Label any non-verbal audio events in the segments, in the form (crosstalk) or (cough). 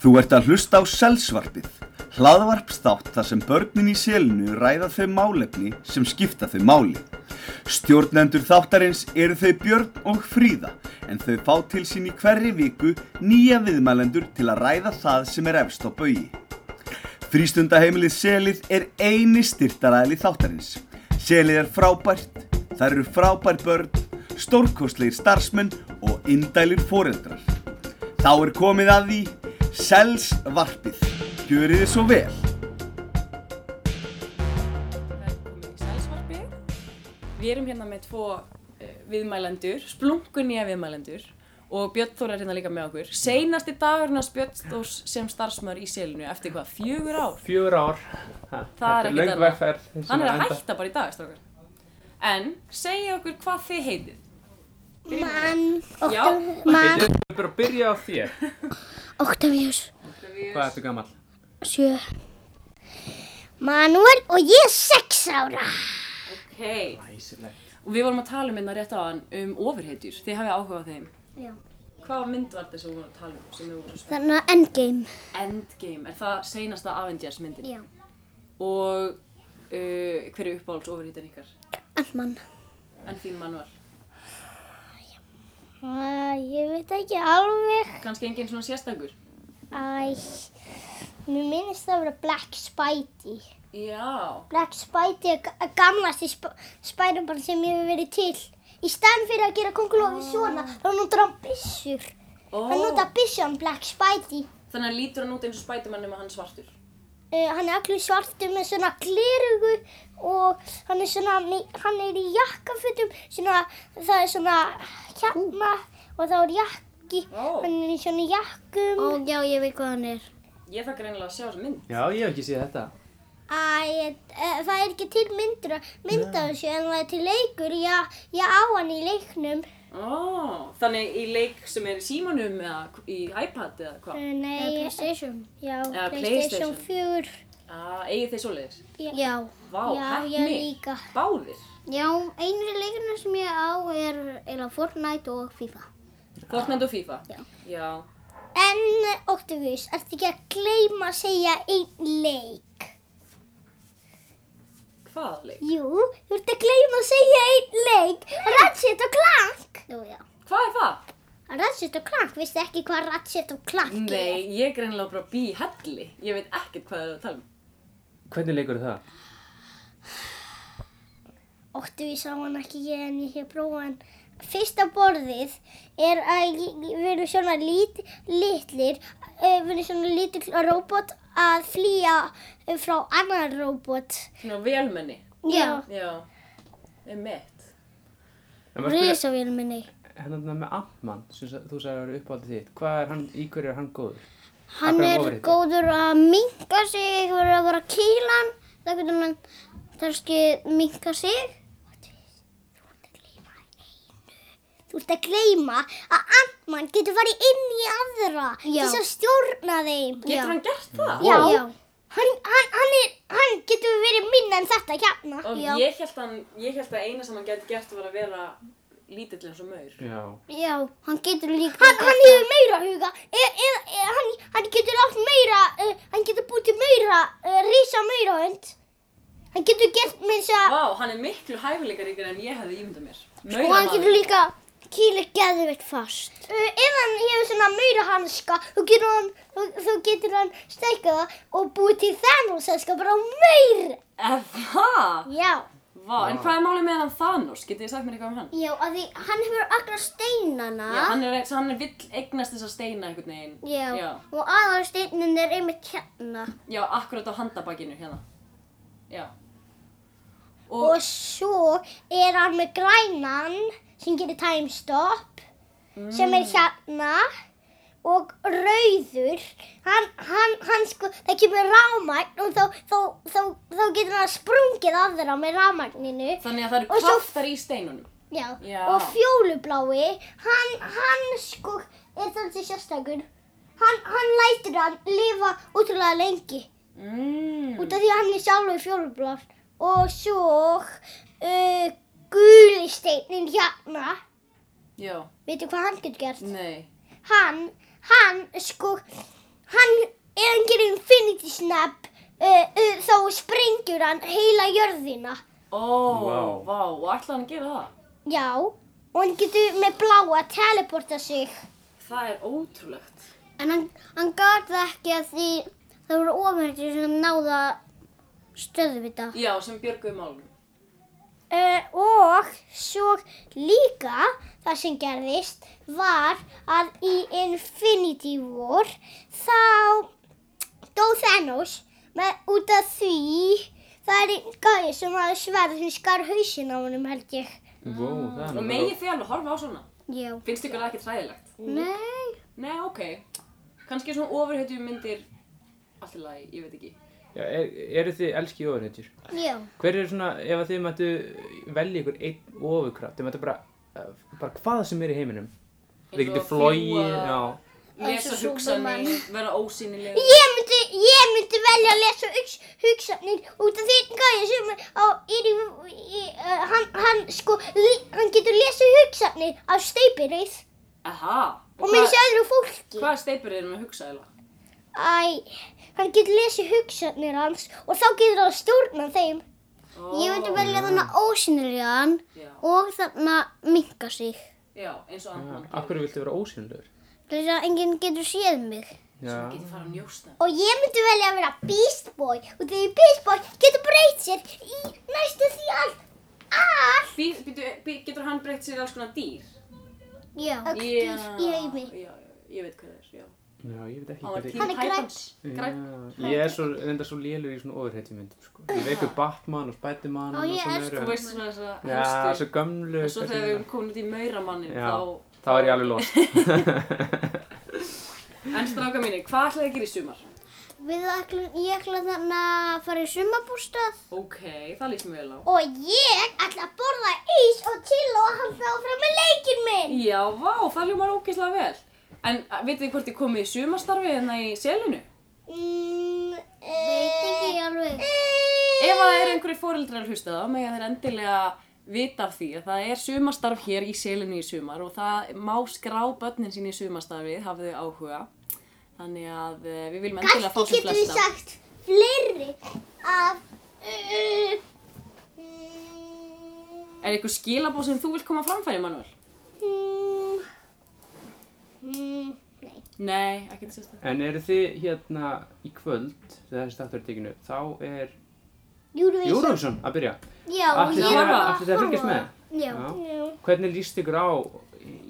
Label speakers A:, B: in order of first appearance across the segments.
A: Þú ert að hlusta á Selsvarpið, hlaðvarpstátt þar sem börnin í selinu ræða þau málefni sem skipta þau máli. Stjórnendur þáttarins eru þau Björn og Fríða, en þau fá til sín í hverri viku nýja viðmælendur til að ræða það sem er efst á bögi. Frístundaheimilið Selið er eini styrtaræðli þáttarins. Selið er frábært, það eru frábær börn, stórkostlegir starfsmenn og indælir foreldrar. Þá er komið að því Selsvarpið. Gjörið þið svo vel.
B: Velkomin í Sælsvarpið. Við erum hérna með tvo eh, viðmælendur, splunkunýja viðmælendur og Björn Þór er hérna líka með okkur. Seinasti dagurinn hans Björn Þórs sem starfsmör í selinu eftir hvað, fjögur ár?
C: fjögur ár ha,
B: er
C: þetta er
B: ekkert
C: löng
B: annað.
C: vegferð sem
B: Hann er að
C: enda-
B: hætta bara í dag, strókar. En, segja okkur hvað þið heitið.
D: Mann,
B: Já,
D: mann,
C: Bíddu, við bara að byrja á þér
D: Octavius,
C: hvað ertu gammal
D: sjö. Manuel og ég er sex ára.
B: ok. Og við vorum að tala um hérna rétt á hann um ofurheitjur. Þið hafið áhuga á þeim.
D: Já.
B: Hvað mynd var þetta sem við vorum að tala um sem við vorum svo
D: Þannig að endgame.
B: Endgame, er það seinasta Avengers myndin?
D: Já.
B: Og uh, hver er uppáhalds ofurhýtan ykkar?
D: Antmann.
B: En þín manual?
D: Æ, ég veit ekki alveg.
B: Kannski enginn svona sérstakur?
D: Æ, mér minnist það að vera Black Spidey.
B: Já.
D: Black Spidey er ga- gamlasti sp spærubar sem ég hefur verið til. Í staðan fyrir að gera kongulófi svona, þá notar hann byssur.
B: Ó.
D: Hann notar byssan Black Spidey.
B: Þannig að lítur hann út eins og spætumann nema hann er svartur.
D: Uh, hann er allur svartur með svona glerugu og hann er svona, hann er í jakkafutum, svona, það er svona hérna og þá er jakki,
B: Ó.
D: hann er í svona jakkum. Ó, já, ég veit hvað hann er.
B: Ég þakkar einlega að sjá þessa mynd.
C: já ég hef ekki séð þetta
D: Æ, e, það er ekki til myndur, mynd af þessu en það er til leikur, já, ég á hann í leiknum.
B: Ó, þannig í leik sem er í símanum eða í iPad eða hvað?
D: Eh, Nei, Eða Playstation. Já,
B: Eða PlayStation.
D: Playstation 4.
B: Ah, eigið þið svoleiðis?
D: Já.
B: Vá,
D: Já,
B: heppni.
D: ég líka.
B: Báðir.
D: Já, einu leikinu sem ég á er, er Fortnite og FIFA.
B: Fortnite og FIFA?
D: Já.
B: Já.
D: En, Octavius, ertu ekki að gleyma að segja einn leik?
B: Hvað leik?
D: Jú, þú ert að gleyma að segja einn leik. Ratchet og Clank. Jú, já.
B: Hvað er það?
D: Ratchet og Clank, veistu ekki hvað Ratchet og Clank er?
B: Nei, ég er greinlega bara bí helli. Ég veit ekkert hvað það er að tala um.
C: hvernig leikur er það?
D: Octavius á hann ekki ég en ég hef prófað hann. Fyrsta borðið er að við erum svona lit, litlir, eh, við erum svona lítill robot að flýja eh, frá annar robot.
B: Svona velmenni.
D: Já.
B: Já. Ég mitt.
C: En maður spyrir-
D: Rísavélminni.
C: hérna með Amtmann sem sa- þú sagði að vera uppáhaldið þitt hvað er hann, í hverju er hann góður?
D: Hann
C: Akkur er
D: er
C: ofurhetja?
D: góður að minka sig, verður að vera kílan, það getur hann kannski minka sig. Þú ert að gleyma að Antmann getur farið inn í aðra til þess að stjórna þeim.
B: Getur hann gert það?
D: Já. Já. Hann, hann, hann, er, hann getur verið minna en þetta hérna.
B: Og ég held, hann, ég held að eina sem hann gæti gert var að vera lítill eins og maur.
C: já,
D: Já, hann getur líka Hann, hann hefur meira huga eða e, e, hann, hann getur átt meira uh, hann getur búið til meira uh, risa meira hönd hann getur gert með þess að
B: Vá, hann er miklu hæfileikaríkar en ég hefði ímyndað mér.
D: og Sko, hann
B: Mauramaður.
D: getur líka kýla geðveikt fast uh, ef hann hefur svona meira hanska þá getur hann þá- þá getur hann stækka það og búið til Thanos það skal bara meira
B: Er það?
D: já
B: Vá, en hvað er málið með hann Thanos? Getið þið sagt mér eitthvað um hann?
D: já, af því hann hefur akkur steinana
B: Já, hann er, hann er vill eignast þess að steina einhvern veginn. Já,
D: og aðar steinin er einmitt hérna
B: já akkurat á handabakinu hérna. Já.
D: Og
B: Og,
D: svo er hann með grænan sem gerir time stop sem
B: Mm.
D: er hérna og rauður hann, hann, hann sko, það kemur rámagn og þá, þá, þá, þá getur hann sprungið aðra með rámagninu
B: þannig að það
D: og
B: eru
D: svo-
B: kraftar í steinunum.
D: Já.
B: Já.
D: og fjólublái hann, hann sko er þannig sérstakur hann, hann lætur hann lifa útrúlega lengi
B: Mm.
D: út af því að hann er sjálfur fjólublár og svo uh, gulisteinin hérna
B: Já,
D: veitu hvað hann getur gert?
B: nei.
D: hann, hann sko hann, ef hann gerir infinity snap, uh, uh, þá sprengur hann heila jörðina.
B: Ó,
C: Vá.
B: vá, og ætlaði hann að gera það?
D: Já, og hann getur með bláa að teleporta sig.
B: Það er ótrúlegt.
E: En hann, hann gat það ekki að því það voru ofurhetjur sem náða stöðvita.
B: Já, sem björguði málum.
D: Uh, og svo líka það sem gerðist var að í Infinity War þá dó Thanos með, út af því það er einn gæði sem hafði sverð sem skar hausin á honum held ég.
C: Vó, það er
B: Mm. Og
C: nú
B: megið þið alveg horfa á svona?
E: Já.
B: Finnst ykkur það ekki træðilegt?
E: Nei.
B: Nei, ok. Kannski svona ofurhetju myndir allt í lagi, ég veit ekki.
C: Já, er, eru þið elski ofurhetjur?
D: Já.
C: Hver er svona, ef að þið mættu velja ykkur einn ofurkraft, þið mættu bara, eh, bara hvað sem er í heiminum. Þið
B: Eins og
C: getur
B: að
C: flogið,
B: fljúga.
C: já.
E: Eins
B: Lesa
E: og Superman.
B: hugsanir, vera ósýnileg.
D: Ég myndi, ég myndi velja að lesa hugs, hugsanir út af því einn gæði sem á, er í, í uh, hann, hann sko, li- hann getur lesið hugsanir af steipirið
B: Aha.
D: og með
B: hvað,
D: þessu öðru fólki.
B: hvað steipur erum að hugsa eða?
D: Æ, hann getur lesið hugsanir hans og þá getur hann stjórna þeim.
B: Oh,
E: Ég myndi velja þarna ósynilegan
B: Já,
E: og þarna minka sig.
B: já, eins og annan.
C: Af hverju viltu vera ósynlegur?
E: Þess að enginn getur séð mig.
C: Já.
B: Getið fara að njósna.
D: Og ég myndi velja að vera Beast Boy og því Beast Boy getur breytt sér í næstu því allt. Allt
B: Bý, býtu, bý, getur hann breytt sér í alls konar dýr?
E: Já.
D: öll
B: Já,
D: dýr í heimi.
B: Já, já, ég veit hvað það er, já.
C: Já, ég veit ekki
B: Hann var
C: hvað
B: Teen
D: Hann er grænn.
B: Titans. Grænn.
C: Já, ég er svo, enda svo lélur í svona ofurhetjum sko. Ég veku
B: Ah.
C: Batman og Spiderman
E: Ó,
C: og
E: ég
C: svona
E: elska
B: Þú
C: eru.
B: veist svona þess að
C: Já, svo gömlu.
B: sko. Og svo
C: eitthvað
B: þegar við erum
C: svona.
B: komin út í mauramannin
C: Já.
B: þá...
C: Þá er ég alveg lost.
B: En stráka mínir, hvað ætlaði að gera í sumar?
E: Við ætlum, ég ætla þarna að fara í sumabústað.
B: Ok, það líst mér vel á.
D: Og ég ætla að borða ís og til og halda áfram með leikinn minn.
B: Já, vá, það ljómar ógeðslega vel. En að, vitið þið hvort þið komið í sumarstarfi hérna í selinu?
D: Mm, eh,
E: Veit ekki alveg.
B: Ef að það er einhverju fóreldrar að hlusta þá, mega þeir endilega vita af því að það er sumarstarf hér í selinu í sumar og það má skrá börnin sín í sumarstarfið, hafið þau áhuga. Þannig að eh, við viljum endilega fá
D: Kannski
B: sem
D: getur við
B: flesta.
D: sagt fleiri af... Uh, mm,
B: Er eitthvað skilabóð sem þú vilt koma á framfæri, Manuel?
D: Mm. Mm.
B: Nei, ekkert sérstaklega.
C: En eru þið hérna í kvöld, þegar þessi státtur er tekinu, þá er
D: Eurovision.
C: Eurovision að byrja.
E: Já,
C: Ætlið
B: já,
C: þið að-
B: já.
C: ætlið þið að fylgjast með?
E: Já.
D: Já.
C: Hvernig líst ykkur á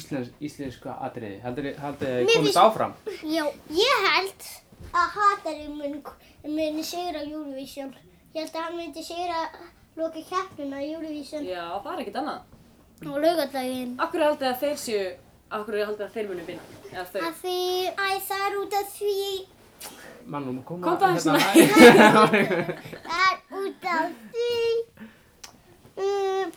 C: íslens, íslenska atriði? Haldið þið- haldið þið
D: Mér
C: komist
D: finnst-
C: áfram?
E: Já.
D: Ég held að Hatari mun, mun sigra Eurovision. Ég held að hann myndi sigra loka keppnuna í Eurovision.
B: Já, það er ekkert annað.
E: Á laugardaginn.
B: Akkur er haldið að þeir séu, akkur er haldið að þeir munu vinna, eða þau.
E: Af því
D: Æ, það er út af því,
C: Mannum að koma
B: Komdu aðeins (laughs)
C: hérna.
D: það er út af því. Um,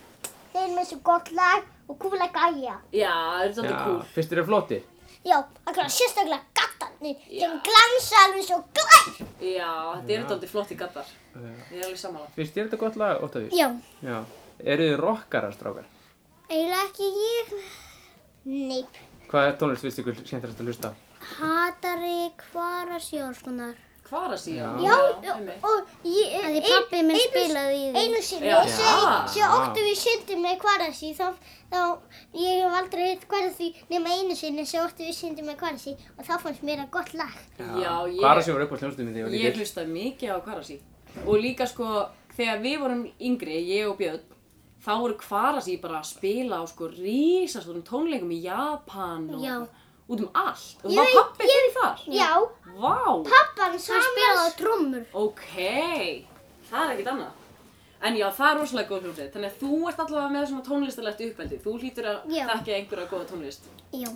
D: þeir eru með svo gott lag og kúla gæja.
B: Já, það er svolítið
C: Já,
B: cool.
C: finnst þér að flotti?
D: Já, það er sérstaklega gattarnir sem
B: Já.
D: glansa alveg svo glær.
B: Já, þetta eru svolítið flott í gattar.
C: Já.
B: Ég er alveg sammála.
C: Eh, Finnst þér þetta gott lag, Óttavíus?
E: Já.
C: Já. Eru þið rockarar, strákar?
E: eiginlega ekki ég.
D: Nei,
C: Hvað tónlist finnst ykkur skemmtilegast að hlusta á?
E: Hatari Kvara Sjórskonar.
B: Hvar að síðan?
D: Já,
B: einmitt.
D: og ég,
E: Af því pappi minn
D: einu-
E: spilaði í því.
D: einu sinni,
B: Já.
D: svo,
B: Já.
D: svo óttu við syndum með kvarasi, þá, þá, ég hef aldrei hitt kvarasi nema einu sinni, svo óttu við syndum með kvarasi og þá fannst mér það gott lag.
B: Já, ég-
C: Hvar að sjá upp á hljónstum í því og
B: Ég
C: líkil?
B: hlustaði mikið á Kvarasi og líka sko þegar við vorum yngri, ég og Björn þá voru Kvarasi bara að spila á sko rísastórum tónleikum í Japan og
E: Já.
B: út um allt og
D: Ég
B: var
D: veit-
B: pappi fyrir þar
D: Já,
B: Vá,
D: pappan
E: Hann spilaði á
D: samans,
E: trommur.
B: ok það er ekkert annað En já, það er rosalega góð hljómsveit, þannig að þú ert allavega með svona tónlistarlegt uppeldi, þú hlýtur að
E: Já.
B: þekka einhverja góða tónlist.
E: Já.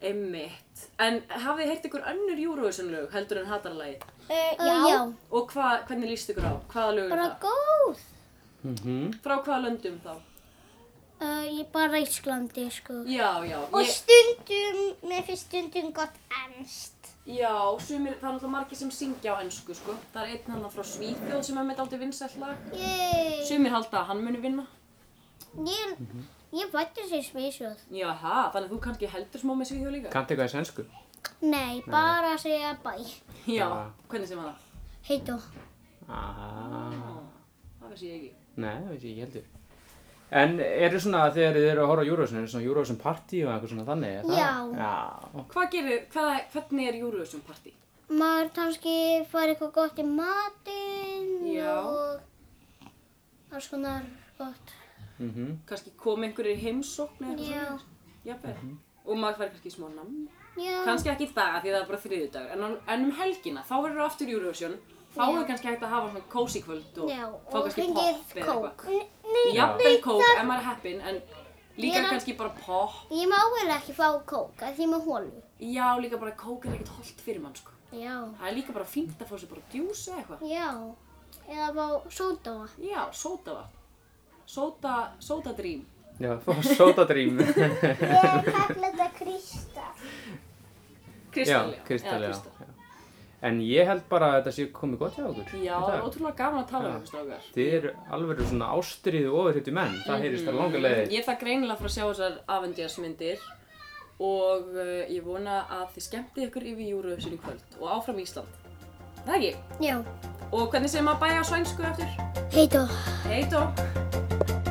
B: Einmitt. En hafið þið heyrt ykkur önnur Eurovision lög heldur en hatarlagið?
D: uh,
E: Eh, Já.
D: já,
B: Og hva, hvernig líst ykkur á? Hvaða lög er
E: Bara
B: það?
E: góð.
C: Mhm.
B: Frá hvaða löndum þá?
E: Uh, ég bara Íslandi, sko.
B: Já, já,
D: og
B: ég,
D: stundum, mér finnst stundum gott ennst.
B: já, sumir, það er náttúrulega margir sem syngja á ennsku, sko. Það er einn hann frá Svíþjóð sem er með dálítið vinsælt lag.
E: Ég,
B: Sumir halda að hann muni vinna.
E: ég,
B: Mhm.
E: ég fætti sér svísjóð.
B: Jaha, þannig að þú kannski heldur smá með Svíþjóð líka.
C: Kanntu eitthvað í sænsku?
D: Nei, bara að segja bæ.
B: Já,
C: Já.
B: hvernig sem að það?
D: Heitu.
C: Ah,
B: Það veist ég ekki.
C: nei, það veit ég ekki heldur. En eru svona þegar þið eru að horfa á Eurovision, eru svona Eurovision party og eitthvað svona þannig? er það? Já.
B: Hvað gerir, hvað, hvernig er Eurovision party?
D: Maður kannski fær eitthvað gott í matinn
B: Já.
D: og alls konar gott.
C: Mm
B: Kanski kom einhverjir í heimsókn eða eitthvað
D: Já.
B: svona? Jafnvel. Og maður fær kannski í smá namn.
D: Já.
B: Kannski ekki í dag því það er bara þriðjudagur. En, á- en um helgina, þá verður aftur Eurovision. Þá er kannski hægt að hafa svona cozy kvöld og
D: Já,
B: fá
D: og
B: kannski
D: fengið
B: pop eða
D: kók.
B: eitthvað. Jafnvel kók, ef maður er heppinn, en líka
D: Ég-
B: kannski bara pop.
D: Ég má vel ekki fá kók að því ég má hólu.
B: Já, líka bara kók er ekkert holdt fyrir mann, sko.
D: Já.
B: Það er líka bara fínt að fá sér bara djús eða eitthvað.
D: Já. Eða fá sódóa.
B: (laughs) Já, sótavatn. Sóta, sótadrím.
C: Já, fá sótadrím.
F: Ég kalla þetta Krista.
B: Kristall,
C: já, kristal, já. já. En ég held bara að þetta sé komið gott hjá okkur.
B: Já,
C: í
B: það
C: dag.
B: er ótrúlega gaman að tala um
C: Já.
B: þessu strákar.
C: Þið eru alveg svona ástriðu ofurhýttu menn, það heyrist það langa leiði.
B: Ég þakka greinilega fyrir að sjá þessar Avengersmyndir og uh, ég vona að þið skemmtið ykkur yfir Eurovision í kvöld og áfram Ísland. Það er ég.
D: Já.
B: Og hvernig segir maður bæja á svænsku eftir?
D: Heitu.
B: Heitó!